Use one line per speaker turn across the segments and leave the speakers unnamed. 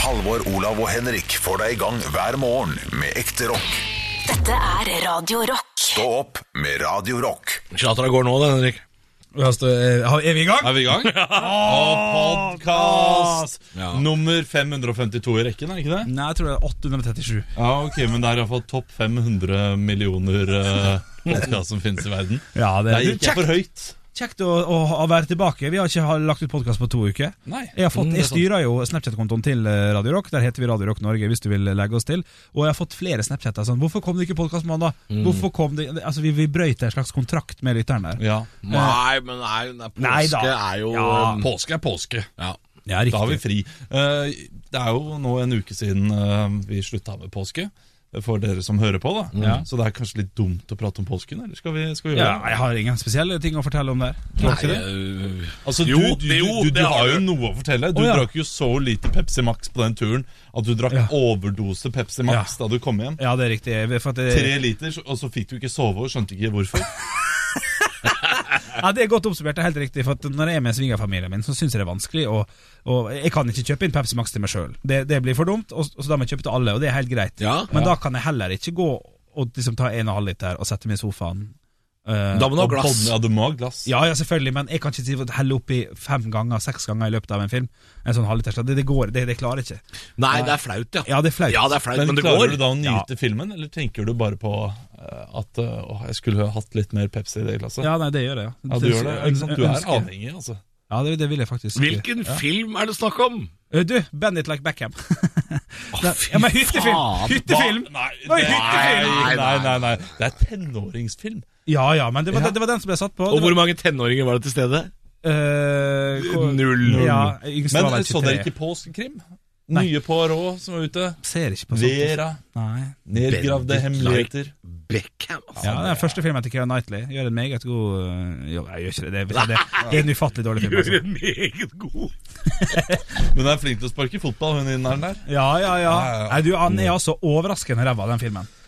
Halvor, Olav og Henrik får deg i gang hver morgen med ekte rock.
Dette er Radio Rock.
Stå opp med Radio Rock.
Charteret går nå, det, Henrik.
Ja, så, eh, har- Er vi i gang?
Er vi i gang?
Og podkast
Ja.
nummer 552 i rekken, er det ikke det?
Nei, jeg tror det er 837.
Ja, ok, Men det er iallfall topp 500 millioner podkast som finnes i verden.
Ja, det
Der
er
gikk jeg
kjekt,
for høyt.
kjekt å, å, å være tilbake. Vi har ikke ha- lagt ut podkast på to uker.
Nei.
Jeg, har fått,
Mm, det er
jeg
sant.
styrer jo Snapchat-kontoen til eh, Radio Rock. Der heter vi Radio Rock Norge, hvis du vil eh, legge oss til. Og jeg har fått flere Snapchatter sånn 'Hvorfor kom det ikke podkast mandag?'
Mm.
Hvorfor kom det Altså, vi, vi brøyt en slags kontrakt med lytteren der.
Ja,
Nei, men nei, nei, påske
Nei da.
er jo
Ja.
Påske er påske.
Ja.
Ja,
Da har vi fri. Eh, Det er jo nå en uke siden eh, vi slutta med påske. For dere som hører på, da.
Ja.
Så det er kanskje litt dumt å prate om påsken, eller skal vi, skal vi gjøre
Ja, jeg har ingen spesielle ting å fortelle om der. Har du ikke
Nei,
eh.
det?
øh,
Altså,
Jo,
du, du,
det- jo,
du, du,
det har
har jo
jeg.
noe å fortelle. Du
Å, ja.
drakk jo så lite Pepsi Max på den turen at du drakk
Ja.
overdose Pepsi Max da du kom hjem.
Ja, det er riktig. For at
Tre
det,
liter, så- og så fikk du ikke sove og skjønte ikke hvorfor.
ja, det er godt oppsummert. Det er helt riktig. For at når jeg er med svigerfamilien min, så syns jeg det er vanskelig. Og, og jeg kan ikke kjøpe inn Pepsi Max til meg sjøl. Det, det blir for dumt, og, så da må jeg kjøpe til alle, og det er helt greit.
Ja.
Men da kan jeg heller ikke gå og liksom ta en og en halv liter og sette meg i sofaen. eh,
Da må du ha
Og
glass.
bånd- Ja, du må ha glass.
ja, ja, selvfølgelig, men jeg kan ikke drive og helle oppi fem ganger, seks ganger i løpet av en film. En sånn halvliters. Det, det går, det, det klarer jeg ikke.
Nei, det er flaut, ja.
Ja, det er flaut.
Ja, det er flaut,
Men,
men det
klarer
går.
du da å nyte filmen, eller tenker du bare på eh, at eh, åh, jeg skulle ha hatt litt mer Pepsi i det glasset?
Ja, nei, det gjør jeg, ja.
Ja, du gjør det. Ikke sant? Du er
Ønsker.
avhengig, altså.
Ja, det, det vil jeg faktisk.
Hvilken film er det snakk om?
Eh, Du, Bennett like Beckham.
Å, fy
ja, men hyttefilm!
faen.
Hyttefilm!
Hva? Nei,
Oi,
det-
hyttefilm!
nei, nei, nei, nei. Det er tenåringsfilm.
Ja ja, men det var, det var den som ble satt på.
Og hvor mange tenåringer var det til stede? Null.
Ja, yngste
Men
var vel
så dere
23.
ikke Påskekrim?
Nei.
Nye på Rå som er ute.
Ser ikke på sånt.
Vera.
Nei.
Nedgravde
Benedict
hemmeligheter.
Beckham, altså.
Ja, den første filmen til Keira Knightley gjør en meget god øh, Jo, jeg gjør ikke det. Det, det, det er en ufattelig dårlig film. Altså.
Gjør en meget god
Men hun er flink til å sparke fotball, hun inneren der.
Ja, ja, ja.
ja.
Nei, du, han er altså overraskende ræva, den filmen.
Ja,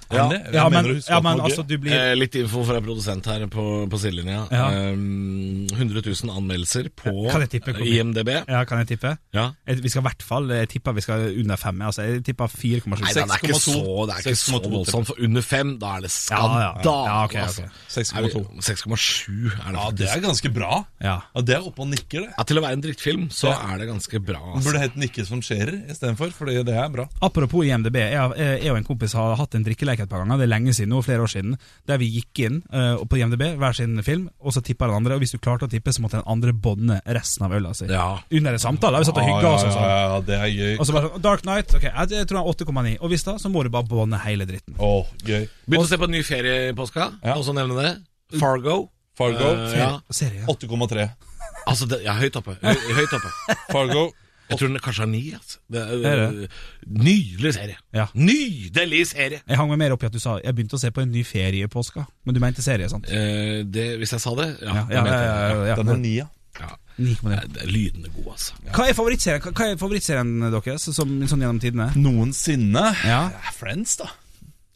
Ja, men, ja, men altså, du blir
Eh, litt info fra produsent her på, på sidelinja.
Ja.
Um, 100 000 anmeldelser på
Kan jeg tippe hvor mye?
IMDb.
Ja, kan jeg tippe?
Ja.
Jeg- Vi skal i hvert fall Jeg tipper vi skal under fem. Altså, jeg tipper 4,7.
Nei, da, det er ikke så, det er ikke så
6,2.
voldsomt. For under fem, da er det
Ja,
skandale.
ja, ja. Ja, ok, ok.
altså.
6,2.
Er vi- 6,7 er det
Ja,
faktisk.
det er ganske bra.
Ja.
Ja, Det er oppe og nikker, det.
Ja, til å være en drittfilm, så
Ja.
er det ganske bra.
Det
Altså.
burde hett 'Nikke som skjærer' istedenfor, fordi det er bra.
Apropos IMDb, jeg, har- eh, jeg og en kompis har hatt en drikkelek et par ganger, det er lenge siden, nå, flere år siden, der vi gikk inn eh, på IMDb, hver sin film, og så tippa den andre, og hvis du klarte å tippe, så måtte den andre bånde resten av øla si.
Ja.
Under en samtale, vi satt og hygga oss og
ja,
sånn.
ja, ja, det er gøy.
Og så bare sånn, Dark Knight, ok, jeg, jeg tror den er 8,9, og hvis da, så må du bare bånde hele dritten.
Å, gøy.
Begynte å se på en ny ferie i påska,
Ja.
og så nevne det. Fargo.
Fargo
Eh, ja.
Serie?
8,3.
Altså, det, ja, høyt oppe. Høy, høyt oppe.
Fargo
Jeg tror den kanskje er ni. Altså. Det, er,
Er
Nydelig serie.
Ja.
Nydelig serie!
Jeg hang meg mer opp i at du sa jeg begynte å se på en ny ferie i påska, men du mente serie, sant?
Eh, det, hvis jeg sa det? Ja.
Ja,
det
ja,
mente
ja,
jeg.
ja, ja,
Den er 9,
Ja.
9,9.
Nei, det er Lydende god, altså.
Hva er favorittserien, hva er favorittserien deres, som, sånn gjennom tidene?
Noensinne
Ja.
Det er Friends, da.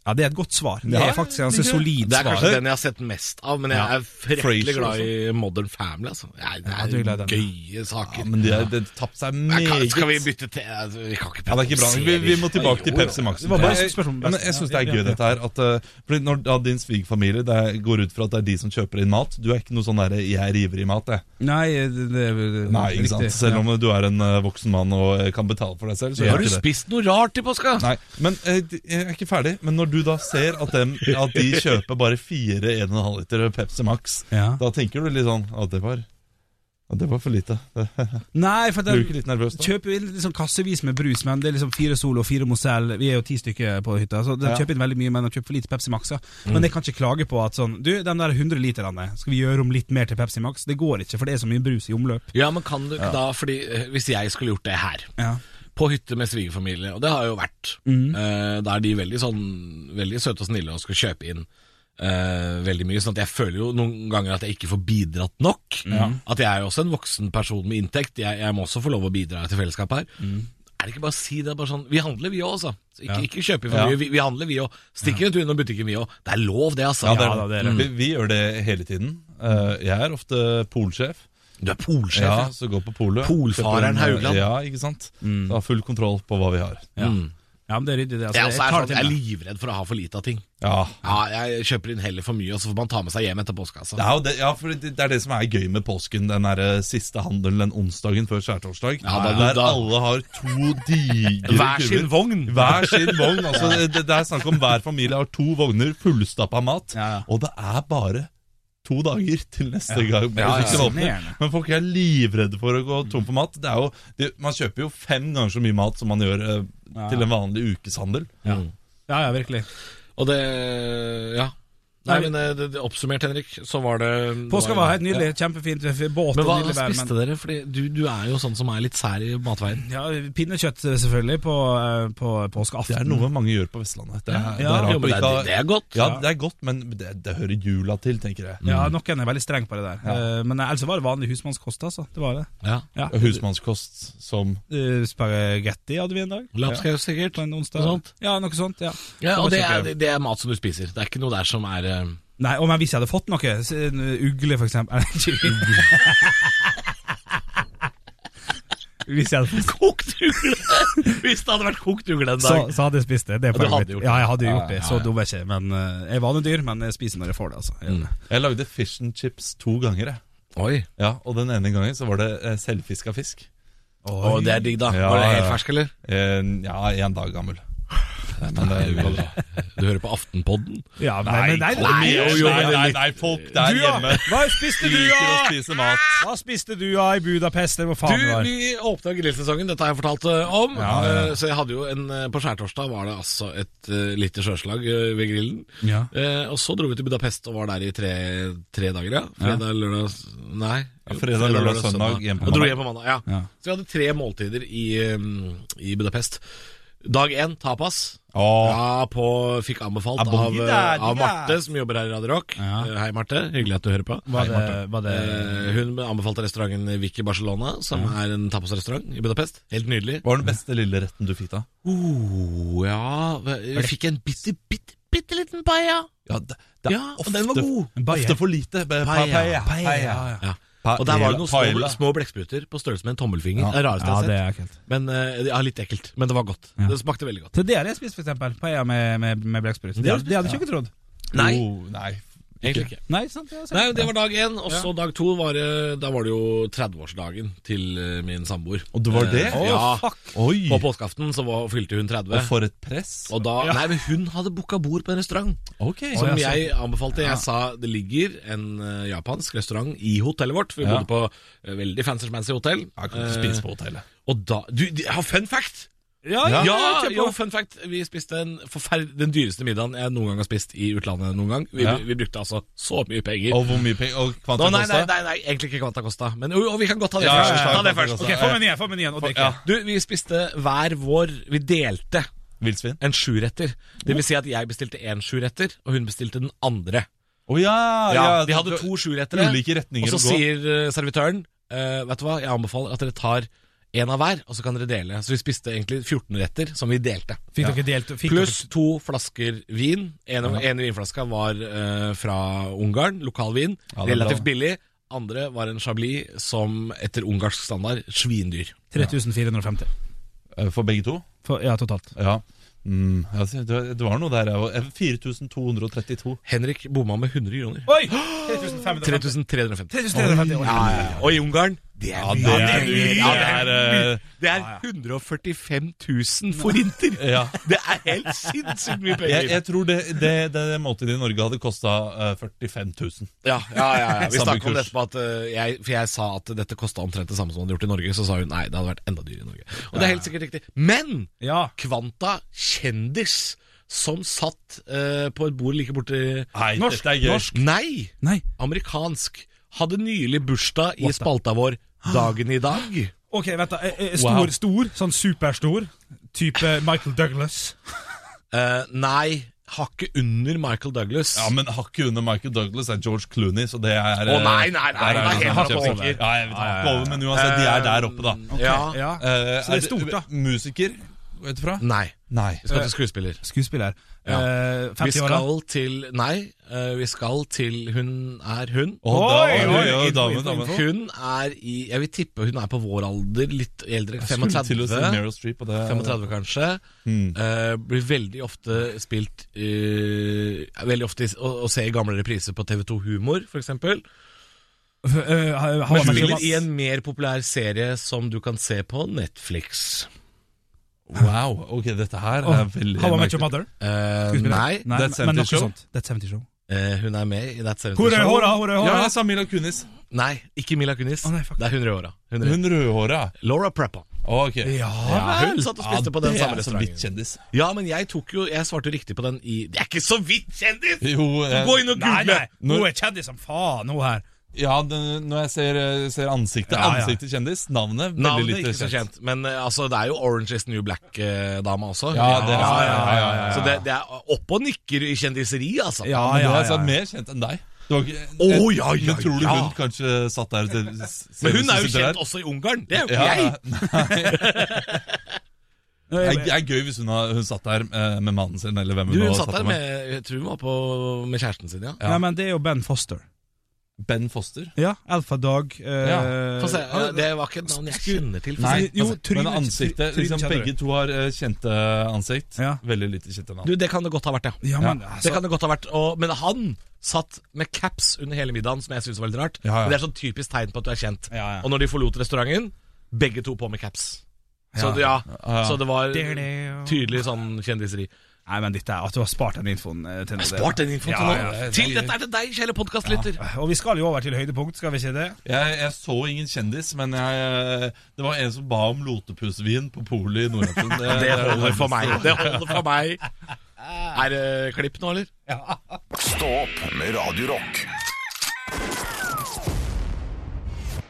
Ja, det er et godt svar. Det
Ja,
er faktisk en ganske
ikke det?
solid
Det er
svar.
kanskje den jeg har sett mest av, men jeg er
Frasier
fryktelig glad i Modern Family. Altså. Nei,
Ja, du
det
er glad
er
i den,
gøye saker.
Ja, men det, det tapte seg
Nei,
meget.
kan, skal vi bytte til altså, Vi kan ikke
Ja, det er ikke bra. Vi, vi må tilbake til Pepsi Max.
Det var bare
Jeg-
et spørsmål om
ja, men
best.
jeg syns
Ja,
det er
ja,
gøy,
ja.
dette her. At, eh, fordi når ja, din svigerfamilie det er- går ut fra at det er de som kjøper inn mat Du er ikke noe sånn derre 'jeg river i mat', jeg.
Nei, det, det, det
Nei, ikke sant?
riktig.
Selv om du er en eh, voksen mann og eh, kan betale for deg selv, så
Har du
gjør ikke det.
spist noe rart i påska?
Nei, men eh, de- Jeg er ikke ferdig. Men når du da ser at, dem, at de kjøper bare fire 1,5 liter Pepsi Max,
Ja.
da tenker du litt sånn at det var ja, det var for lite. Det-
Nei, for
Blir du ikke
den
litt nervøs da?
kjøper inn liksom kassevis med brus, men det er liksom fire Solo og fire Mozell. Vi er jo ti stykker på hytta, så de
Ja.
kjøper inn veldig mye, men de kjøper for lite Pepsi Max. Ja. Men jeg kan ikke klage på at sånn Du, de der 100 literne, skal vi gjøre om litt mer til Pepsi Max? Det går ikke, for det er så mye brus i omløp.
Ja, men kan du ikke da Fordi eh, Hvis jeg skulle gjort det her,
Ja.
på hytte med svigerfamilie, og det har jo vært, eh, da er de veldig, sånn, veldig søte og snille og skal kjøpe inn eh, veldig mye. Sånn at jeg føler jo noen ganger at jeg ikke får bidratt nok. Mm. At jeg er jo også en voksen person med inntekt. Jeg, jeg må også få lov å bidra til fellesskapet her. Er det ikke bare å si det? bare sånn, Vi handler, vi òg, altså. Så Ikke, ikke kjøpe for
Ja.
mye. Vi, vi handler, vi òg. Stikker en tur innom butikken, vi òg. Det er lov, det, altså.
Ja, det
Ja, da, det er
er det. Vi, vi gjør det hele tiden. Eh, jeg er ofte polsjef.
Du er polsjef.
Ja,
ja.
så gå på polet.
Polfareren
Kjøp en-
Haugland. Mm.
Ja, ikke sant? Så ha full kontroll på hva vi har.
Ja. ja, men det er ryddig, det. Altså,
Jeg, også er
tar
sånn, jeg
det
er
til meg.
livredd for å ha for lite av ting.
Ja,
Ja, jeg kjøper inn heller for mye, og så får man ta med seg hjem etter postkassa.
det er, jo det, ja, for det, det er det som er gøy med påsken, den der, eh, siste handelen den onsdagen før skjærtorsdag.
Ja, da-
der
da-
alle har to digre
Hver sin
kurver.
vogn!
Hver sin vogn. Altså, det, det er snakk om hver familie har to vogner fullstappa mat,
Ja, ja.
og det er bare to dager til neste gang
Ja, Sånn ja.
butikken åpner.
Fascinerende.
Men folk er livredde for å gå tom for mat. Det er jo, det, man kjøper jo fem ganger så mye mat som man gjør eh,
Ja.
til en vanlig ukeshandel.
Mm.
Ja, ja, virkelig.
Og det Ja. Nei, men eh, det, det oppsummert, Henrik, så var det det
Påska var helt nydelig. Kjempefint. Båt
Men
og
hva
nydelig vær.
spiste dere? Fordi du, du er jo sånn som er litt sær i matveien.
Ja, pinnekjøtt selvfølgelig på, eh, på påskeaften.
Det er noe mange gjør på Vestlandet. Det er, det
Mm. Ja.
er rart
Jo, men
å
det,
ikke
er-
ha-
det er godt.
Ja, det er godt, men det, det hører jula til, tenker jeg.
Ja, noen er veldig streng på det der. Eh, Men ellers var det vanlig husmannskost, altså. Det var det.
Ja.
Ja.
Husmannskost som
Eh, Spagetti hadde vi en dag.
Lapskaus, sikkert.
På en onsdag.
Noe sånt.
Ja, noe sånt. ja
Ja, og det
var
er,
kjempe-
det er mat som du spiser. Det er ikke noe der som er eh,
Nei, og men hvis jeg hadde fått noe, s- en ugle for eksempel Hvis jeg hadde fått
Kokt ugle! Hvis det hadde vært kokt ugle en
så,
dag.
så hadde jeg spist det. det er
Ja, du
poenget
hadde
mitt.
gjort det.
Ja, jeg hadde jo
Ja,
gjort det.
ja,
Så
ja.
dum er jeg ikke. Men eh, jeg er vanedyr, men jeg spiser når jeg får det, altså. Jeg gjør det.
Jeg lagde fish and chips to ganger, jeg.
Oi.
Ja, og den ene gangen så var det eh, selvfiska fisk.
Å, det er digg, da.
Ja,
var det helt
ja.
fersk, eller?
Eh, ja, en dag gammel. Men det går bra.
Du hører på Aftenpodden?
Ja, men, nei, nei,
kom
nei,
igjen.
nei.
jo, jo,
nei, nei,
litt-
nei, folk der
Dua!
hjemme
Hva spiste du,
liker å
da?
spise mat.
Hva spiste du da i Budapest? Eller hva faen
Du,
det var?
vi åpna grillsesongen, dette har jeg fortalt eh, om.
Ja, ja,
Eh, Så jeg hadde jo en eh, På skjærtorsdag var det altså et eh, lite sjøslag eh, ved grillen.
Ja.
Eh, og så dro vi til Budapest og var der i tre, tre dager, ja. Fredag, lørdag s- Nei.
Ja,
jo,
fredag, lørdag, søndag, hjem
Og
på
dro
mandag.
hjem på mandag. Ja.
Ja.
Så vi hadde tre måltider i, um, i Budapest. Dag én tapas.
Åh,
Ja, på, fikk anbefalt
Abogi
av, eh,
der,
av
de
Marte,
der.
som jobber her i Radio Rock.
Ja.
Eh, Hei, Marte. Hyggelig at du hører på.
Var det, var det
Eh, Hun anbefalte restauranten Vicky Barcelona, som er en tapasrestaurant i Budapest. Helt nydelig.
Hva var den beste lille retten du fikk da?
Oh, ja Vi fikk en bitte, bitte, bitte liten paia.
Ja, det, det er
Ja, og
ofte,
den var god.
Paella.
ofte for lite. Be-
Paella.
Paella.
Paella,
Ja.
Pa-
Og der var det noen små,
paella.
små blekkspruter på størrelse med en tommelfinger.
Ja.
Det er det rareste
Ja,
jeg har
det
sett.
er ekkelt.
Men, eh, ja, litt ekkelt, men det var godt.
Ja.
Det smakte veldig godt.
Så det har jeg spist, for eksempel. Paella med, med, med blekksprut. Det, det hadde du ikke trodd.
Nei,
Oh, nei.
egentlig ikke.
Nei, sant? Det har jeg sett.
Nei, Det var dag én, og så dag to var det Da var det jo 30-årsdagen til eh, min samboer.
Og det var
Eh,
det?
Å,
ja.
fuck.
Oi,
På påskeaften så var, fylte hun 30.
og for et press.
Og da, Nei, men hun hadde booka bord på en restaurant.
Ok.
Som
Å, ja,
jeg anbefalte. Jeg sa det ligger en eh, japansk restaurant i hotellet vårt. Vi
Ja.
bodde på eh, veldig fancy-smancy hotell.
Jeg kan
Eh,
ikke spise på hotellet.
Og da Du, de- ja, fun fact!
Ja,
Ja,
kjempe-
jo, fun fact. Vi spiste en forferd den dyreste middagen jeg noen gang har spist i utlandet. noen gang Vi,
Ja.
vi brukte altså så mye penger.
Og hvor mye penger? Og
Nå,
kvanta
nei, nei, nei, nei, egentlig ikke Quanta Costa, men jo, jo, vi kan godt ta det
Ja,
først.
ja, ja,
ta det
Quanta
først.
Costa.
Ok, få menyen, få menyen, og drikk.
Ja.
Du, vi spiste hver vår Vi delte
Villsvin?
en sjuretter. Det vil si at jeg bestilte én sjuretter, og hun bestilte den andre.
Å ja,
Ja, de hadde to sjurettere.
Ulike retninger
Og så
å gå.
sier eh, servitøren eh, Vet du hva, jeg anbefaler at dere tar en av hver, og så kan dere dele. Så vi spiste egentlig 14 retter som vi delte.
Fikk dere delt fikk
Pluss to flasker vin. En, av- en vinflaske var eh, fra Ungarn, lokal vin.
Ja, det er
relativt
bra.
billig. Andre var en chablis som etter ungarsk standard svindyr.
dere 3450.
Eh, For begge to?
For, ja, totalt.
Ja. Mm, ja, se, det, det var noe der. jeg var- 4232.
Henrik bomma med 100 kroner.
Oi! 3550.
3350.
3350.
Ja, ja, ja. Og i Ungarn det er mye.
det er, eh,
Det er 145 000 forinter!
Ja.
Det er helt sinnssykt mye penger.
Jeg, jeg tror det, det, det måltidet i Norge hadde eh, kosta 45 000.
Ja, ja, ja, ja. Vi
Samme
snakket om
kurs.
dette på at eh, jeg, For jeg sa at dette kosta omtrent det samme som det hadde gjort i Norge. Så sa hun nei, det hadde vært enda dyrere i Norge. Og det er helt sikkert riktig. Men
Ja.
Kvanta kjendis som satt eh, på et bord like borti
Nei,
Norsk,
dette er gøy.
norsk.
Nei!
Nei.
Amerikansk. Hadde nylig bursdag i spalta vår Dagen i dag.
Ok, vent da. Eh, eh, Stor,
Wow.
stor, sånn superstor. Type Michael Douglas.
Eh, nei, hakket under Michael Douglas.
Ja, men hakket under Michael Douglas er George Clooney, så det er eh,
Å, nei, nei, nei,
der er
det er
det
helt
sånn
hakket over.
kjempesikkert. eh, Ja, jeg vet, hakket over, men uansett, de er der oppe, da.
Eh, Ja.
Ja.
Eh,
Så det er stort, da.
Musiker. gå ut fra?
Nei.
Nei.
Vi skal til skuespiller.
Skuespiller.
Ja.
Eh,
Vi
50 år, da.
skal til Nei, eh, vi skal til Hun er hun.
Å, da,
Oi,
oi, oi,
oi,
dame,
info,
dame.
info.
Hun er i Jeg vil tippe hun er på vår alder, litt eldre.
Jeg skulle til å si
35,
Meryl Streep, og det
35 kanskje.
Mm.
Eh, blir veldig ofte spilt eh, Veldig ofte i- å, å se i gamle repriser på TV2 Humor, f.eks.
Eh, ha- ha-
Men hun
ha-
spiller i en mer populær serie som du kan se på Netflix.
Wow, ok, dette her
Åh,
er veldig
How I Met Your
merkelig.
Mother?
Eh,
Skuespiller?
nei,
That's
men- men
70
noe
Show.
sånt. That's 70 Show.
eh, hun er med i That 70
Hurra,
Show.
hurra, hurra,
Ja,
hurra.
jeg sa Mila Kunis.
Nei, ikke Mila Kunis.
Å, nei, fuck.
det er 100 i åra. 100.
Hun rødhåra.
Laura Preppa.
Ok.
Ja,
hun satt og spiste på den
det
samme
er så vidt
restauranten.
kjendis.
Ja, men jeg tok jo Jeg svarte jo riktig på den i Det er ikke så vidt kjendis!
Jo, eh, jeg-
Gå inn og
Nei,
google!
nei, hun er kjendis som faen, hun her.
Ja, det, når jeg ser, eh, ser ansiktet
Ja, ja.
Ansiktet kjendis, navnet veldig
Navnet
lite
er ikke så kjent, men eh, altså, det er jo Orange is the New Black-dama også.
Ja, det er-
Så det, det er opp og nikker i kjendiseri, altså.
Ja, ja,
Men det
ja,
er
ja.
altså mer kjent enn deg. Det var ikke-
Å, ja, ja,
Men tror du
ja.
hun kanskje satt der til
Men hun er jo kjent også i Ungarn! Det er jo ikke jeg!
Det
Jeg-
er, er gøy hvis hun, har, hun satt der eh, med mannen sin, eller hvem hun,
Du, hun
nå
satt der med Jeg tror hun var på, med kjæresten sin, ja.
Ja.
Nei, men det er jo Ben Foster.
Ben Foster.
Ja, Alpha Dog. eh,
Ja,
Få se, eh,
han-
det var ikke et navn jeg kjenner til. Få
Nei.
se.
jo, trynet-
altså, men ansiktet
trynet
liksom,
kjenner du.
Begge to har eh, kjente ansikt.
Ja.
Veldig lite kjente navn.
Du, det kan det godt ha vært, ja.
ja, men,
Det
altså,
kan det godt ha vært og, Men han satt med caps under hele middagen, som jeg syns var veldig rart.
Ja, ja.
Men Det er sånn typisk tegn på at du er kjent.
Ja, ja.
Og når de forlot restauranten, begge to på med caps. Så,
Ja.
ja.
Ja.
så det var
Det er det, ja.
tydelig sånn kjendiseri.
Nei, men dette er at du har spart den infoen eh, til nå.
Jeg har spart den infoen til
Ja,
nå.
ja, ja.
til dette er til deg, kjære podkastlytter.
Og vi skal jo over til høydepunkt, skal vi si det?
Jeg, jeg så ingen kjendis, men jeg, eh, det var en som ba om lotepusvin på polet i Eh, Nordaften. Det,
Det holder for meg. Det holder for meg. Er det klipp nå, eller?
Stå opp med Radio Rock.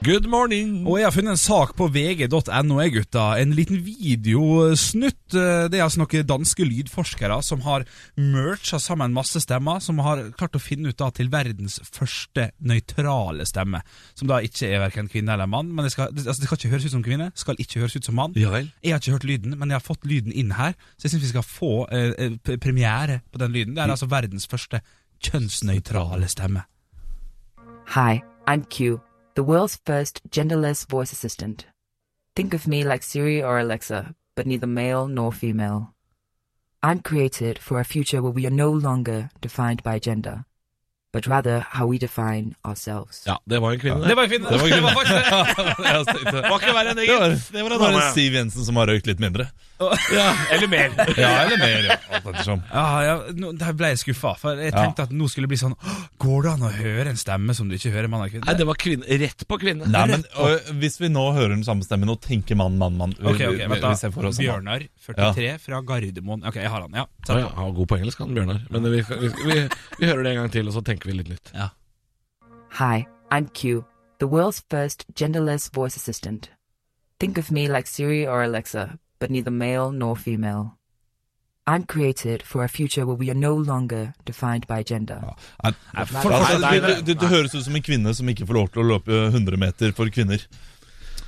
Good morning.
Og jeg har funnet en sak på vg.no, jeg, gutta. En liten videosnutt. Eh, Det er altså noen danske lydforskere som har mercha sammen masse stemmer, som har klart å finne ut da til verdens første nøytrale stemme. Som da ikke er verken kvinne eller mann. Men det skal, det, altså, det skal ikke høres ut som kvinne, skal ikke høres ut som mann.
Ja vel.
Jeg har ikke hørt lyden, men jeg har fått lyden inn her, så jeg syns vi skal få eh, eh, p- premiere på den lyden. Det er altså verdens første kjønnsnøytrale stemme.
Hi, I'm Q, the world's first genderless voice assistant. Think of me like Siri or Alexa, but neither male nor female. I'm created for a future where we are no longer defined by gender, but rather how we define ourselves.
Ja, det var en kvinne.
Det var kvinne!
Det var, det.
Det var ikke verre enn det,
Det var,
gitt. Det var en
bare
dame.
Siv Jensen som har røykt litt mindre.
Eller mer.
Ja, eller mer. Ja. Alt ettersom.
Ja, ja, nå, der ble jeg skuffa, for jeg
Ja.
tenkte at nå skulle det bli sånn «Åh, Går det an å høre en stemme som du ikke hører mann og
Nei,
kvinne?
det var kvinne. Rett på kvinne.
Nei, men og, Hvis vi nå hører den samme stemmen og tenker mann, mann, mann
Ok, ok, vent da.
Vi ser for oss en mann.
Bjørnar, 43, fra Gardermoen. Ok, jeg har han, ja.
Å ja, han var god på engelsk, han Bjørnar. Men vi, vi, vi, vi hører det en gang til, og så tenker vi litt nytt.
Hi, I'm Q, the world's first genderless voice assistant. Think of me like Siri or Alexa, but neither male nor female. I'm created for a future where we are no longer defined by gender.
Nei,
for-
altså,
nei, nei,
det,
nei.
det, det høres ut som en kvinne som ikke får lov til å løpe 100 meter for kvinner.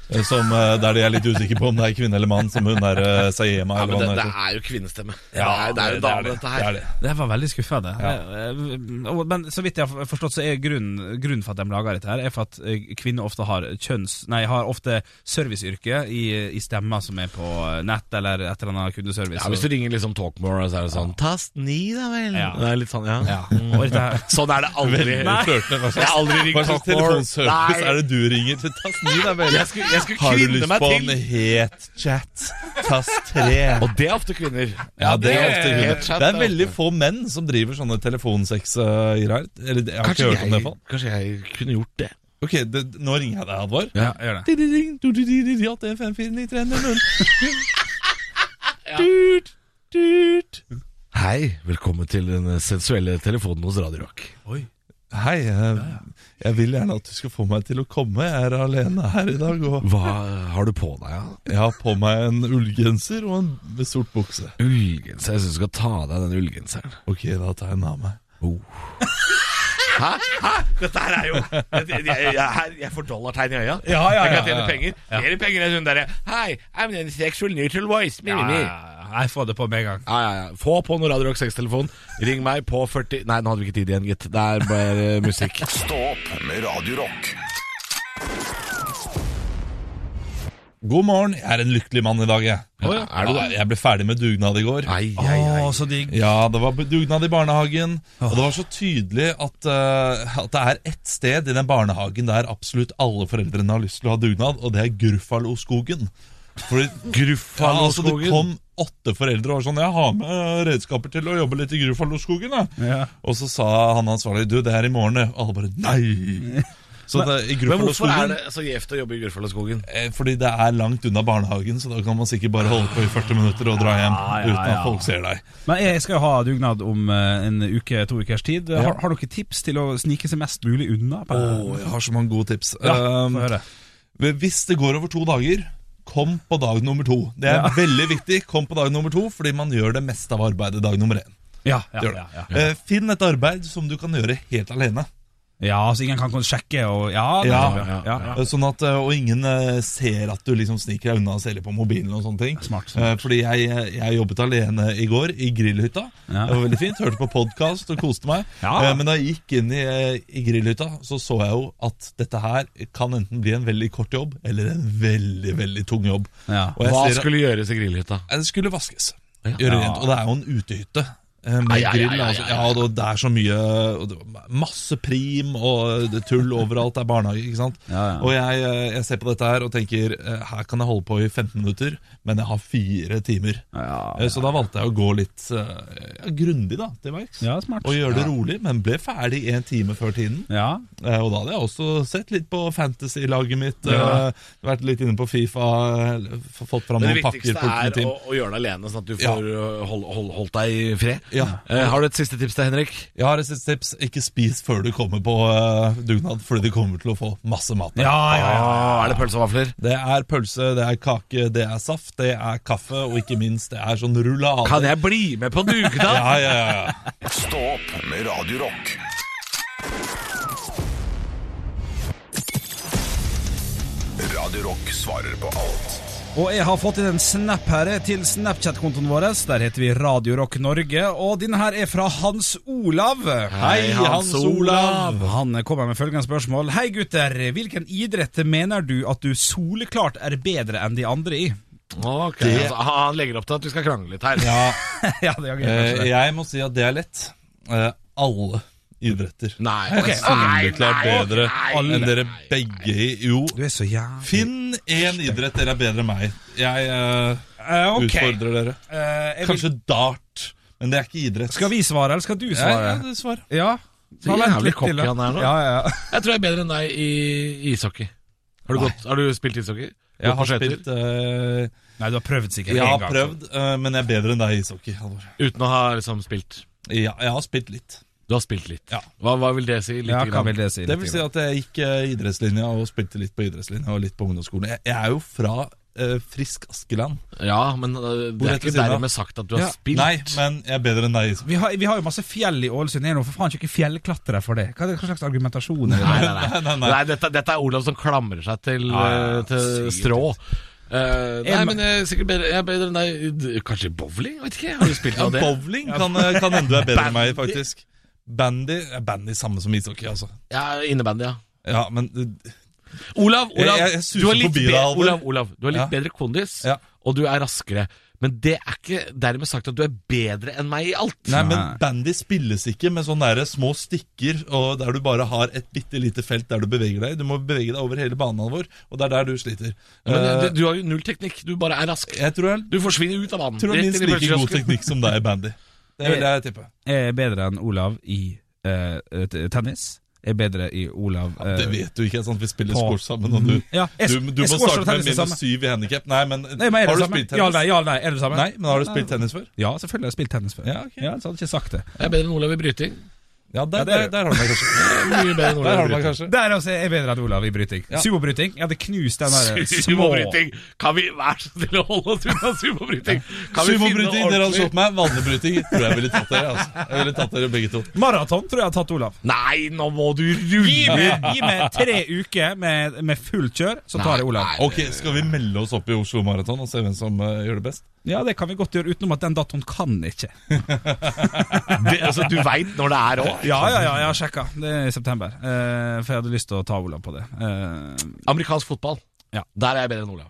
Eh, Som, eh, der de er litt usikker på om det er kvinne eller mann, som hun der eh, Sayema
Ja,
eller
men
hva
det,
hun
det
heter.
er jo kvinnestemme. det, er, det er jo dame, dette her.
det er det.
Det var veldig skuffende. Eh, og- Men så vidt jeg har forstått, så er grunnen, grunnen for at de lager dette her, er for at eh, kvinner ofte har kjønns... Nei, har ofte serviceyrke i, i stemmer som er på nett eller et eller annet kundeservice.
Ja, Hvis du ringer liksom Talkmore, så er det sånn Tast ni, da vel.
Ja.
Det er litt sånn, ja.
ja. Og dette her
Sånn er det aldri.
Veldig
Jeg har
flørtende. Hva slags,
aldri
hva
ringt
slags
Talkmore.
telefonservice er det du ringer til? Tast 9, da vel.
Jeg skulle, jeg skulle
Har du
kvinne
lyst
meg
på
til.
en het chat? Tast 3.
Og det er ofte kvinner.
Ja, det er ofte
het
kvinner.
chat,
Det er
det altså. er
veldig få menn som driver sånne telefonsex-greier. Eller det- jeg har ikke
Kanskje
hørt om det i hvert
jeg,
fall.
kanskje jeg kunne gjort det.
Ok, det, nå ringer jeg deg, Halvor.
Ja, gjør det.
Ding-ding-ding, du-du-du-du-du, 815-9300. Tut, tut.
Hei, velkommen til den sensuelle telefonen hos Radio Rock.
Hei, jeg, jeg vil gjerne at du skal få meg til å komme. Jeg er alene her i dag. Og
Hva har du på deg, da?
jeg har på meg en ullgenser og en med sort bukse.
Ullgenser. Jeg syns du skal ta av deg den ullgenseren.
Ok, da tar jeg den av meg.
Hæ? Hæ? Dette her er jo Jeg, jeg, jeg, her- jeg får dollartegn i øya.
Ja, ja,
jeg
ja,
kan tjene sånn
ja, ja.
penger. Flere penger enn hun derre Hei, I'm the sexual neutral voice. Mi, mi, mi.
ja, jeg får det på med en gang.
Ja, ja, ja. Få på noen Radio Rock 6-telefon. Ring meg på 40 Nei, nå hadde vi ikke tid igjen, gitt. Det er bare musikk.
Stå opp med Radio Rock.
God morgen, jeg er en lykkelig mann i dag, jeg.
Å ja, er du det?
Jeg ble ferdig med dugnad i går.
Ai,
Å,
ai, ai.
så digg.
Ja, det var dugnad i barnehagen, og det var så tydelig at, eh, at det er ett sted i den barnehagen der absolutt alle foreldrene har lyst til å ha dugnad, og det er Gruffaloskogen. Fordi ja, altså, det
Gruffaloskogen.
kom åtte foreldre og var sånn 'Jeg har med eh, redskaper til å jobbe litt i Gruffaloskogen', jeg.
Ja.
Og så sa han ansvarlig 'Du, det er i morgen', jeg». og alle bare 'Nei'. Så det, i
Men hvorfor er
Gruffaloskogen
det så gjevt å jobbe i Gruffaloskogen?
Eh, Fordi det er langt unna barnehagen, så da kan man sikkert bare holde på i 40 minutter og dra hjem uten at folk ser deg.
Men jeg skal jo ha dugnad om eh, en uke, to ukers tid. Har, har dere tips til å snike seg mest mulig unna? På?
Åh, jeg har så mange gode tips.
Ja,
Um,
få høre.
hvis det går over to dager, kom på dag nummer to. Det er veldig viktig. Kom på dag nummer to, fordi man gjør det meste av arbeidet dag nummer én.
Ja, ja,
Gjør det.
ja, ja.
Eh, Finn et arbeid som du kan gjøre helt alene.
ja, så ingen kan sjekke og Ja, det er
Ja,
bra.
ja, ja.
Eh, Sånn at, eh, og ingen eh, ser at du liksom sniker deg unna og ser litt på mobilen og sånne ting.
Smart, smart.
Eh, Fordi jeg, jeg jobbet alene i går i grillhytta.
Ja.
Det var veldig fint. Hørte på podkast og koste meg.
Ja.
Eh, Men da jeg gikk inn i, eh, i grillhytta, så så jeg jo at dette her kan enten bli en veldig kort jobb eller en veldig, veldig tung jobb.
Ja.
Og jeg
Hva
ser at-
skulle gjøres i grillhytta?
Nei, Det skulle vaskes.
Ja.
Gjøre rent. Og det er jo en utehytte. eh, Med
Ai, ai,
grill,
ai, ai,
altså.
ai.
Ja, og det er så mye og det var Masse prim og det er tull overalt. Det er barnehage, ikke sant.
Ja, ja.
Og jeg, eh, jeg ser på dette her og tenker eh, her kan jeg holde på i 15 minutter, men jeg har fire timer.
Ja,
Eh, Så da valgte jeg å gå litt eh, ja, grundig da, til verks.
ja smart.
Og gjøre det rolig, men ble ferdig en time før tiden.
Ja.
Eh, Og da hadde jeg også sett litt på fantasy-laget mitt.
Ja.
eh, Vært litt inne på Fifa, eh, f- fått fram
Men det
noen pakker
viktigste
på
er å,
Ultimateam.
å gjøre det alene, sånn at du
Ja.
får uh, hold, hold, holdt deg i fred.
Ja.
Eh, har du et siste tips til Henrik?
Jeg har et siste tips. Ikke spis før du kommer på eh, dugnad, fordi du kommer til å få masse mat. der.
Ja, ja, ja.
Ah, er det pølse og vafler?
Det er pølse, det er kake, det er saft, det er kaffe, og ikke minst, det er sånn rullade.
Kan jeg bli med på dugnad?
Ja, ja, ja, ja.
Stå opp med Radio Rock. Radio Rock svarer på alt.
Og jeg har fått inn en snap her eh, til Snapchat-kontoen vår. Der heter vi Radio Rock Norge. Og denne her er fra Hans Olav.
Hei, Hans Olav.
Han kommer med følgende spørsmål. Hei, gutter. Hvilken idrett mener du at du soleklart er bedre enn de andre i?
Ok,
Det-
altså, Han legger opp til at vi skal krangle litt her.
ja.
ja, det er gøy,
eh,
kanskje det.
Jeg må si at det er lett. Eh, Alle idretter.
Nei,
Ok,
altså, nei,
Soleklart
nei,
bedre
nei,
enn
nei.
dere begge i Jo,
Du er så jævlig
finn én idrett dere er bedre enn meg. Jeg eh,
Eh, ok.
utfordrer dere.
Eh, jeg vil-
Kanskje dart, men det er ikke idrett.
Skal vi svare, eller skal du
Ja, ja,
svare?
det svar.
Ja.
Så
vent
jævlig
litt
cocky
til, da.
han er nå.
Ja, ja, ja.
Jeg tror jeg er bedre enn deg i i ishockey. Har du, gått, har du spilt ishockey? Gått
Jeg
på
har
skøyter?
spilt eh,
Nei, du har prøvd sikkert
Jeg
en
har
gang.
prøvd, eh, men jeg er bedre enn deg i ishockey. Halvor.
Uten å ha liksom spilt
Ja, jeg har spilt litt.
Du har spilt litt.
Ja.
Hva, hva vil det si? Lite
Ja, hva
grann.
vil det si?
Det vil
litt
si
grann?
at jeg gikk eh, idrettslinja og spilte litt på idrettslinja og litt på ungdomsskolen. Jeg, jeg er jo fra eh, Frisk Askeland.
ja men uh, det
Hvor
er
heter
ikke
siden da?
dermed sagt at du har
Ja.
spilt.
Nei, men jeg er bedre enn deg i ishockey.
Vi har, vi har jo masse fjell i Ålesund. Er det noe for faen ikke fjellklatrere for det? Hva, er det- hva slags argumentasjon er det?
Nei, nei, nei.
Nei, nei, nei.
Nei, dette, dette er Olav som klamrer seg til,
Ja, ja,
eh, til
sykt.
strå. Eh, nei,
En-
men jeg er sikkert bedre, jeg er bedre enn deg i- Kanskje i bowling? Jeg Vet ikke, Har du spilt noe
Ja,
av det?
bowling kan, eh, kan hende du er bedre enn meg, faktisk. Bandy er bandy samme som ishockey, altså.
Ja, Innebandy, ja.
Ja, men eh,
Olav, Olav,
Jeg- jeg- jeg suser
du har litt,
forbi deg,
be-
Halvor.
Olav, Olav, du har litt
Ja.
bedre kondis,
Ja.
og du er raskere. Men det er ikke dermed sagt at du er bedre enn meg i alt.
Nei, men
Nei.
bandy spilles ikke med sånne der små stikker og der du bare har et bitte lite felt der du beveger deg. Du må bevege deg over hele banen vår, og det er der du sliter.
Men,
Eh,
du, du har jo null teknikk. Du bare er rask.
jeg tror jeg
Du forsvinner ut av banen.
tror det
rett
er
inn
minst
i
like god
pølsekiosken.
teknikk som deg i bandy. Det vil jeg tippe.
Jeg er bedre enn Olav i eh, t- tennis. Jeg er bedre i Olav eh,
Det vet du ikke, sant? vi spiller
på-
squash sammen. Og du,
Mm. Ja, jeg-
du, du
jeg
må
squash og
starte med
tennis er
minus
samme.
syv i handikap. Nei, men,
Nei, men er det
har du
samme?
spilt
Ja,
tennis?
nei, ja, nei, er det samme?
Nei, men har du spilt tennis før?
Ja, selvfølgelig har jeg spilt tennis før.
Ja, ok.
ja, så hadde jeg ikke sagt det.
Jeg er bedre enn Olav i bryting.
Ja, der,
Ja, det er
der, der har du meg kanskje.
Mye bedre enn
Der
Olav
har
i
du meg
bryting.
kanskje.
Der også er jeg bedre enn Olav i bryting.
Ja.
Sumobryting. Jeg hadde knust den der små
Sumobryting! Kan vi være så snill å holde oss unna sumobryting? Kan vi finne
Sumobryting, dere hadde
ordentlig-
slått meg. Vannebryting tror jeg ville tatt dere. Altså. Jeg ville tatt dere begge to.
Maraton tror jeg har tatt Olav.
Nei, nå må du
Gi
rulle!
meg, gi meg tre uker med, med fullt kjør, så tar jeg Olav.
Nei,
Ok, Skal vi melde oss opp i Oslo Maraton og se hvem som eh, gjør det best?
Ja, det kan vi godt gjøre, utenom at den datoen kan ikke.
Det, altså, du veit når det er òg.
Ja, ja, ja, jeg har sjekka. Det er i september. Eh, for jeg hadde lyst til å ta Olav på det. Eh,
Amerikansk fotball.
Ja.
Der er jeg bedre enn Olav.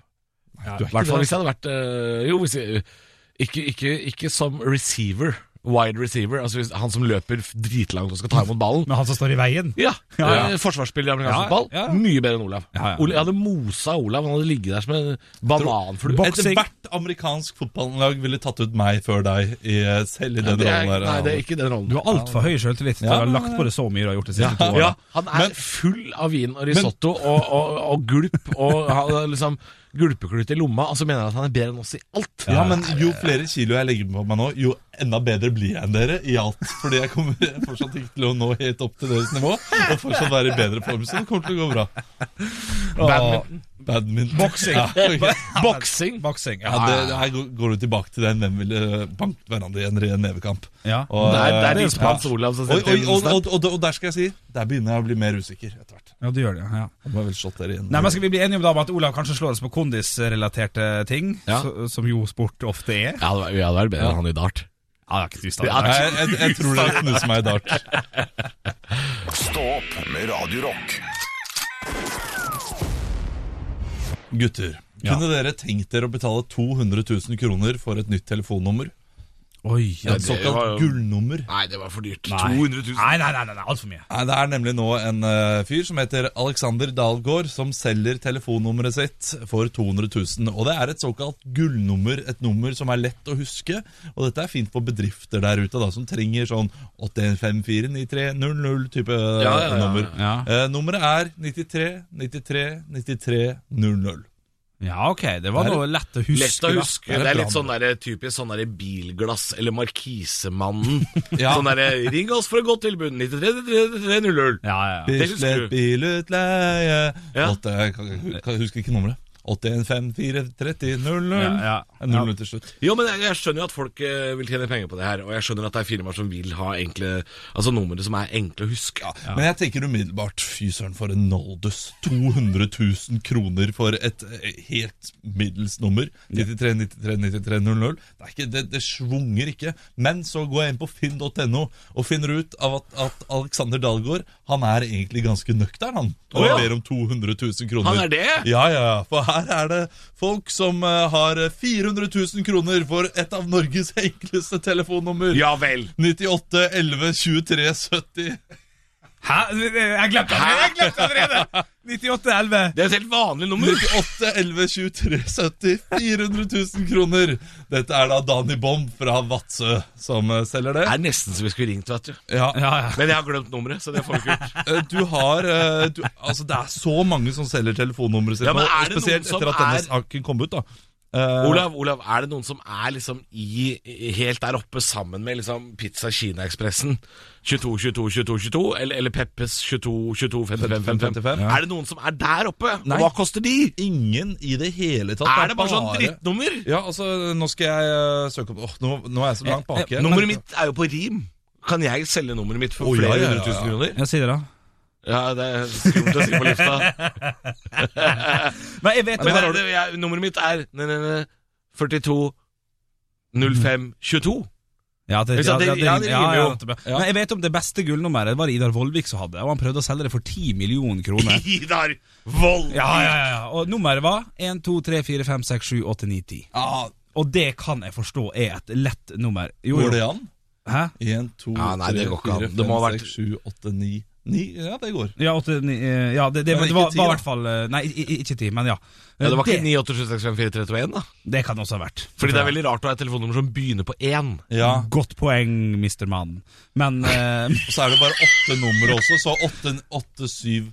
du
I hvert fall hvis jeg hadde vært øh, Jo, hvis jeg, ikke, ikke, ikke som receiver. Wide receiver. Altså hvis, han som løper f- dritlangt og skal ta imot ballen.
Med han som står i veien.
Ja,
Ja, ja.
eh, Forsvarsspiller i amerikansk
Ja,
fotball.
ja.
Mye bedre enn Olav.
Ja, ja.
Ole- Jeg hadde mosa Olav. Han hadde ligget der som en bananflue.
Boksing.
Etter hvert amerikansk fotballag ville tatt ut meg før deg, i, selv i den
Det er,
rollen der.
nei, det er ikke den rollen.
Du har altfor høy selvtillit til å
Ja.
ha lagt på det så mye du har gjort de siste to årene.
Ja, han er full av vin og risotto og, og, og gulp og han har liksom gulpeklut i lomma, og så mener han at han er bedre enn oss i alt.
Ja, men jo flere kilo jeg legger på meg nå, jo enda bedre blir jeg enn dere i alt. Fordi jeg kommer fortsatt ikke til å nå helt opp til deres nivå, og fortsatt være i bedre form. Så det kommer til å gå bra. Ah,
Badminton.
Badminton.
Boksing.
Ja, ok.
Boksing.
Boksing,
ja, det, det her går- går jo tilbake til den hvem ville banket hverandre i en ren nevekamp.
Ja.
Og,
Det er, det er
eh,
Nils Mans Olav som
og, og,
sendte inn
og,
snap.
og, og, og der skal jeg si, der begynner jeg å bli mer usikker etter hvert.
Ja, du gjør det, ja.
Jeg må vel slått dere igjen.
Nei, men Skal vi bli enige om da om at Olav kanskje slår oss på kondisrelaterte ting,
Ja.
så, som jo sport ofte er?
Ja, det var- vi hadde vært bedre enn han i dart.
Ja, det er ikke du
Ja,
Nei, jeg, jeg, jeg tror dere knuser meg i dart.
Stå opp med Radio Rock.
Gutter, kunne dere tenkt dere å betale 200 000 kroner for et nytt telefonnummer?
Oi, ja.
Et såkalt
var-
gullnummer.
Nei, det var for dyrt.
Nei.
200 000.
Nei, nei, nei, nei, nei altfor mye.
Nei, Det er nemlig nå en eh, fyr som heter Alexander Dahlgaard, som selger telefonnummeret sitt for 200 000. Og det er et såkalt gullnummer, et nummer som er lett å huske. Og dette er fint for bedrifter der ute da, som trenger sånn 81549300-type
Ja, ja, ja.
eh, nummer.
Ja.
Eh, nummeret er 93 93 93 00.
Ja, ok, det var
Det er
noe lett å huske.
Lett å
da.
huske. Det er litt sånn der, typisk sånn der bilglass eller Markisemannen.
Ja.
Sånn derre Ring oss for et godt tilbud. 933300.
Ja, ja, ja.
Det husker
Bislett
du.
bilutleie
Ja.
Åtte- Jeg kan- kan- kan- husker ikke nummeret. 81543000.
Ja, ja.
0 til slutt.
Jo, men jeg, jeg skjønner jo at folk eh, vil tjene penger på det her, og jeg skjønner at det er firmaer som vil ha enkle Altså numre som er enkle å huske.
Men jeg tenker umiddelbart Fy søren, for en noldus. 200 000 kroner for et eh, helt middels nummer. 93 93 93 00. Det, er ikke, det, det svunger ikke. Men så går jeg inn på finn.no og finner ut av at, at Alexander Dahlgaard Han er egentlig ganske nøktern, han. Og
Å, ja.
ber om 200 000 kroner.
Han er det?
Ja, ja, ja. For her er det folk som eh, har 400 000 kroner for et av Norges enkleste telefonnummer.
Ja vel.
98 11 23 70.
Hæ? Jeg glemte det allerede! Jeg glemte det allerede. 9811.
Det er et helt vanlig nummer.
98 11 23 70 400 000 kroner. Dette er da Dani Bom fra Vadsø som eh, selger
Det
det.
er nesten så vi skulle ringt, vet du.
Ja.
Ja, ja.
Men jeg har glemt nummeret, så det får vi ikke gjort.
Eh, Du har eh, du, Altså, det er så mange som selger telefonnummeret sitt
Ja,
nå.
men
og
er det noen
Spesielt
som
etter at denne
er-
saken kom ut, da. Eh,
Olav, Olav, er det noen som er liksom i helt der oppe sammen med liksom Pizza Kina-ekspressen? 22, 22, 22, 22? Eller, eller Peppes 22, 22, 55, 55?
55, ja.
Er det noen som er der oppe?
Nei.
Og hva koster de?
Ingen i det hele tatt.
Er det bare sånn drittnummer?
Ja, altså, nå skal jeg eh, søke opp Åh, nå, nå er jeg så langt baki.
Eh, Nummeret mitt er jo på rim. Kan jeg selge nummeret mitt for
Å, ja,
flere
ja, ja,
hundre tusen
ja.
kroner?
Ja, si det, da.
Ja, det er skummelt å si på lufta.
Men jeg vet
Men
hva-
det, det, jeg, nummeret mitt er ne, ne, ne, 42 05 22.
Ja, det,
Ikke
ja,
sant?
det,
Det- ja,
ja,
det
ja,
rimer jo.
ja. Men jeg vet om det beste gullnummeret var Idar Vollvik som hadde, og han prøvde å selge det for 10 millioner kroner.
Idar Vold!
Ja, ja, ja, ja. Og nummeret var 1, 2, 3, 4, 5, 6, 7, 8, 9, 10.
Ah,
Og det kan jeg forstå er et lett nummer. Jo,
går det
jo.
an?
Hæ?
1, 2,
Ja, nei, det
3,
går ikke an.
4,
Det
5,
må ha vært-
6, 7, 8, 9 9, ja, det går.
Ja, 8, 9, eh, ja det, det, men
Men
det
ikke
var, var
10,
i
da.
hvert fall eh, Nei, i- i- ikke 10, men ja.
Ja, det var ikke
det,
987654321, da.
det kan også ha vært.
Fordi det er veldig rart å ha et telefonnummer som begynner på én.
Ja,
Godt poeng, Mr. Mann. Men eh,
Og så er det bare åtte numre også, så åtte, åtte syv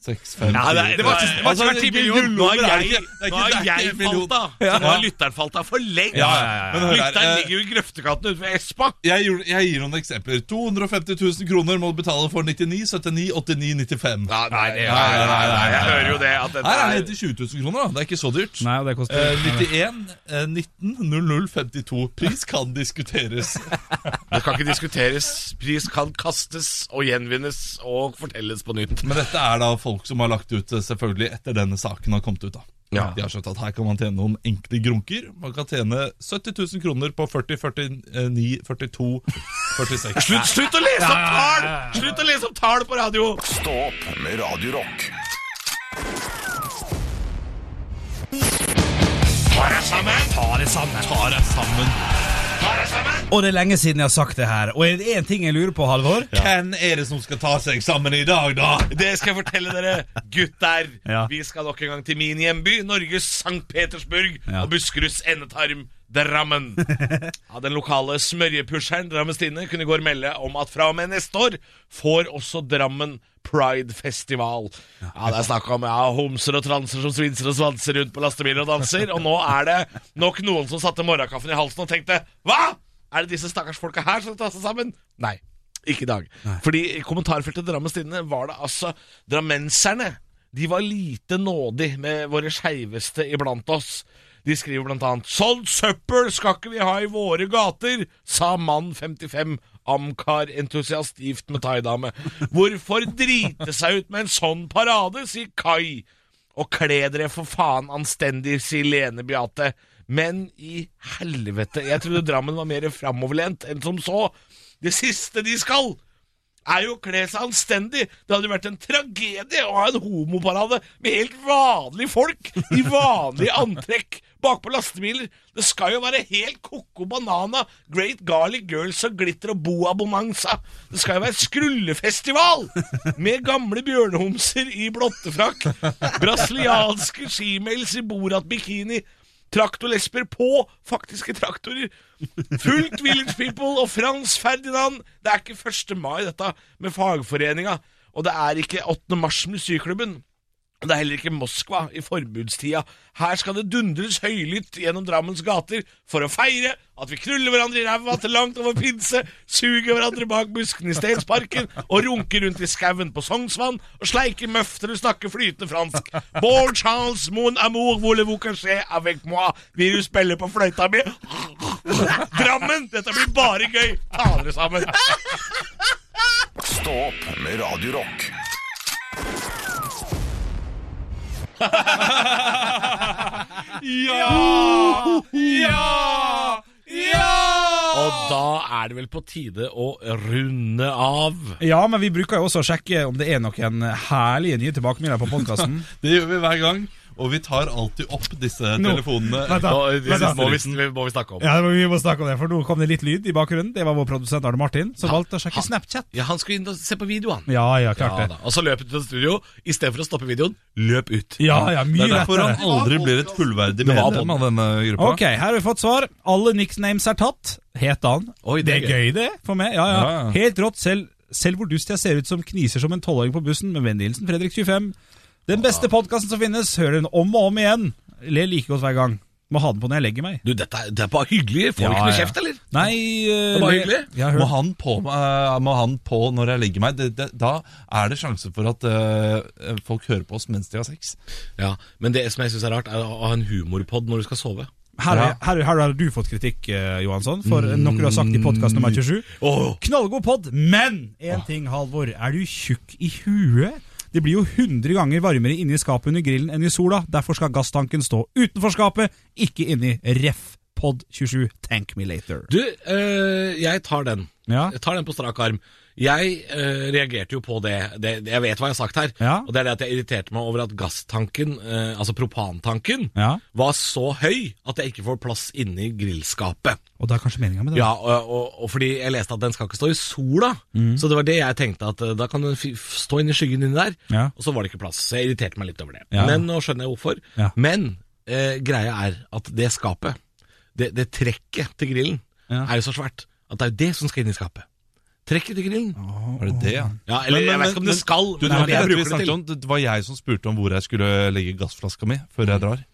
Seks, fem,
Nei, det, er- det var ikke, det var ikke
Altså,
verdt 10 millioner. Nå
gullnummer
har
er
jeg,
ikke- det er ikke-
nå har
det er
jeg
ikke en million.
falt av. Så nå har lytteren falt av for lenge.
Ja, ja, ja, ja. Men hør her,
Lytteren
eh,
ligger jo i grøftekatten utenfor Espa.
Jeg, gjorde- jeg gir noen eksempler. 250 000 kroner må du betale for 99, 79, 89, 95.
nei, nei,
nei, nei, nei,
Jeg
nei.
hører jo det. At dette
Her er det helt til 20 000 kroner, da. Det er ikke så dyrt.
Nei, det koster
Eh, 91, eh, 19, 00, 52. Pris kan diskuteres.
Det kan ikke diskuteres. Pris kan kastes og gjenvinnes og fortelles på nytt.
Men dette er da folk som har lagt ut eh, selvfølgelig etter denne saken har kommet ut. da
Ja.
De har skjønt at her kan man tjene noen enkle grunker. Man kan tjene 70 000 kroner på 40, 49, 42, 46 Slutt, å lese opp tall! Slutt å lese opp tall på radio!
Stå opp med Radio Rock.
Og det er lenge siden jeg har sagt det her. Og er det én ting jeg lurer på, Halvor?
Hvem er det som skal ta seg sammen i dag, da?
Det skal jeg fortelle dere, gutter.
Ja.
Vi skal nok en gang til min hjemby, Norges St. Petersburg
Ja.
og Buskeruds endetarm. Drammen. Ja, den lokale smørjepusheren Drammestine kunne i går melde om at fra og med neste år får også Drammen Pride-festival. Ja, Det er snakk om ja, homser og transer som svinser og svanser rundt på lastebiler og danser. Og nå er det nok noen som satte morgenkaffen i halsen og tenkte Hva?! Er det disse stakkars folka her som tar seg sammen? Nei. Ikke i dag. Fordi i kommentarfeltet Drammens Tidende var det altså Drammenserne. De var lite nådig med våre skeiveste iblant oss. De skriver blant annet Sånn søppel skal ikke vi ha i våre gater, sa mann 55, amkar-entusiast gift med thaidame. Hvorfor drite seg ut med en sånn parade, sier Kai. Og kle dere for faen anstendig, sier Lene Beate. Men i helvete, jeg trodde Drammen var mer framoverlent enn som så. Det siste de skal, er jo å kle seg anstendig. Det hadde jo vært en tragedie å ha en homoparade med helt vanlige folk i vanlig antrekk bakpå lastebiler. Det skal jo være helt koko banana, Great Garlic Girls og glitter og boa bonanza. Det skal jo være skrullefestival med gamle bjørnehomser i blottefrakk, brasilianske skimails i Borat-bikini. Traktorlesper på faktiske traktorer. Fullt Village People og Frans Ferdinand. Det er ikke 1. mai, dette, med fagforeninga. Og det er ikke 8. mars med syklubben. Det er heller ikke Moskva i forbudstida. Her skal det dundres høylytt gjennom Drammens gater for å feire at vi knuller hverandre i ræva til langt over pinse, suger hverandre bak buskene i Steinsparken og runker rundt i skauen på Sognsvann og sleiker møff til du snakker flytende fransk. Bon chance, mon amour, voulez-vous cacher avec moi? Virus spiller på fløyta mi. Drammen! Dette blir bare gøy! Ta dere sammen.
Stå opp med Radio Rock.
Ja! Ja!
Og da er det vel på tide å runde av.
Ja, men vi bruker jo også å sjekke om det er noen herlige nye tilbakemeldinger på podkasten.
Det gjør vi hver gang. Og vi tar alltid opp disse
Nå,
telefonene.
vent da,
Og-
vent da.
Må vi-
må vi snakke om.
Ja, men vi må snakke om det, for nå kom det litt lyd i bakgrunnen. Det var vår produsent Arne Martin, som valgte å sjekke Snapchat.
Ja, han skulle inn og se på videoene.
Ja, ja, klart
Ja,
det.
da. og så løp ut til studio. Istedenfor å stoppe videoen, løp ut.
Ja, ja, mye
Det er derfor han
lettere.
aldri blir et fullverdig
Det var
medlem av denne gruppa.
Ok, her har vi fått svar. Alle nicknames er tatt, het han.
Oi,
det er gøy, det, for meg. Ja, ja.
Ja, ja.
Helt rått, selv, selv hvor dust jeg ser ut som kniser som en tolvåring på bussen, med vennlig hilsen Fredrik 25. Den beste podkasten som finnes, hører den om og om igjen. Ler like godt hver gang. Må ha den på når jeg legger meg.
Du, dette er, det er bare hyggelig. Får
Ja,
vi ikke noe
ja.
kjeft, eller?
Nei eh,
Det var hyggelig.
Jeg
Må
hører.
han, på, eh, må han på når jeg legger meg? Det, det, da er det sjanse for at eh, folk hører på oss mens de har sex.
Ja, Men det som jeg syns er rart, er å ha en humorpod når du skal sove.
Her, er- her, her har du fått kritikk, eh, Johansson, for
Mm.
noe du har sagt i podkast nummer 27. Knallgod pod, men én ting, Halvor. Er du tjukk i huet? Det blir jo 100 ganger varmere inni skapet under grillen enn i sola. Derfor skal gasstanken stå utenfor skapet, ikke inni ref. Pod 27, thank me later.
Du, øh, jeg tar den.
Ja.
Jeg tar den på strak arm. Jeg øh, reagerte jo på det. det. det- Jeg vet hva jeg har sagt her.
Ja.
Og det er det at jeg irriterte meg over at gasstanken, øh, altså propantanken,
Ja.
var så høy at jeg ikke får plass inni grillskapet.
Og det er kanskje meninga med det?
Ja, og, og, og fordi jeg leste at den skal ikke stå i sola, så det var det jeg tenkte at eh, da kan den fi- f- stå inni skyggen inni der,
Ja.
og så var det ikke plass. Så jeg irriterte meg litt over det.
Ja.
Men nå skjønner jeg hvorfor.
Ja.
Men eh, greia er at det skapet, det, det trekket til grillen,
Ja.
er jo så svært at det er jo det som skal inn i skapet. Trekket til grillen.
Var det det, ja?
Ja, eller jeg vet ikke om det skal,
Du,
men
det,
det
var
er det jeg
ikke dette vi
bruker det
snakket
til.
om. det var jeg som spurte om hvor jeg skulle legge gassflaska mi før jeg drar eh,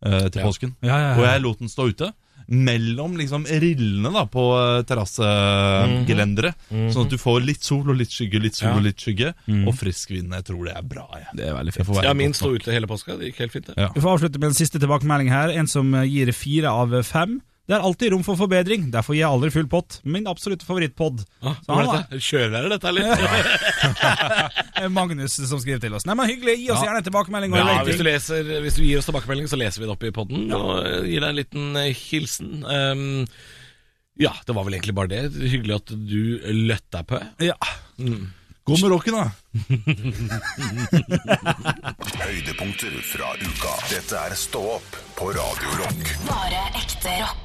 til
Mm. Ja.
påsken.
Ja, ja, ja.
Og jeg lot den stå ute. Mellom liksom rillene da på eh,
Mm.
terrassegelenderet. Sånn at du får litt sol og litt skygge, litt sol og litt skygge. Og frisk vind. Jeg tror det er bra. Jeg.
Det er veldig
Det får være
Mm. Ja, min
godt
sto
nok.
ute hele påska. Det gikk helt fint, det.
Ja.
Vi får avslutte med en siste tilbakemelding her. En som gir eh, fire av fem. Det er alltid rom for forbedring, derfor gir jeg aldri full pott. Min absolutte favorittpod.
Ah,
Så
hva
han
er dette? Kjører dere dette, eller?
er Magnus som skriver til oss. Nei, men hyggelig, gi oss
Ja.
gjerne en tilbakemelding. Og
Ja,
rating.
hvis, du leser, hvis du gir oss tilbakemelding, så leser vi det opp i podden og eh, gir deg en liten eh, hilsen. Ehm, ja, det var vel egentlig bare det. Hyggelig at du løtt deg på.
ja.
Mm.
Gå med rocken, da.
Høydepunkter fra uka. Dette er Stå opp på Radio Rock.
Bare ekte rock.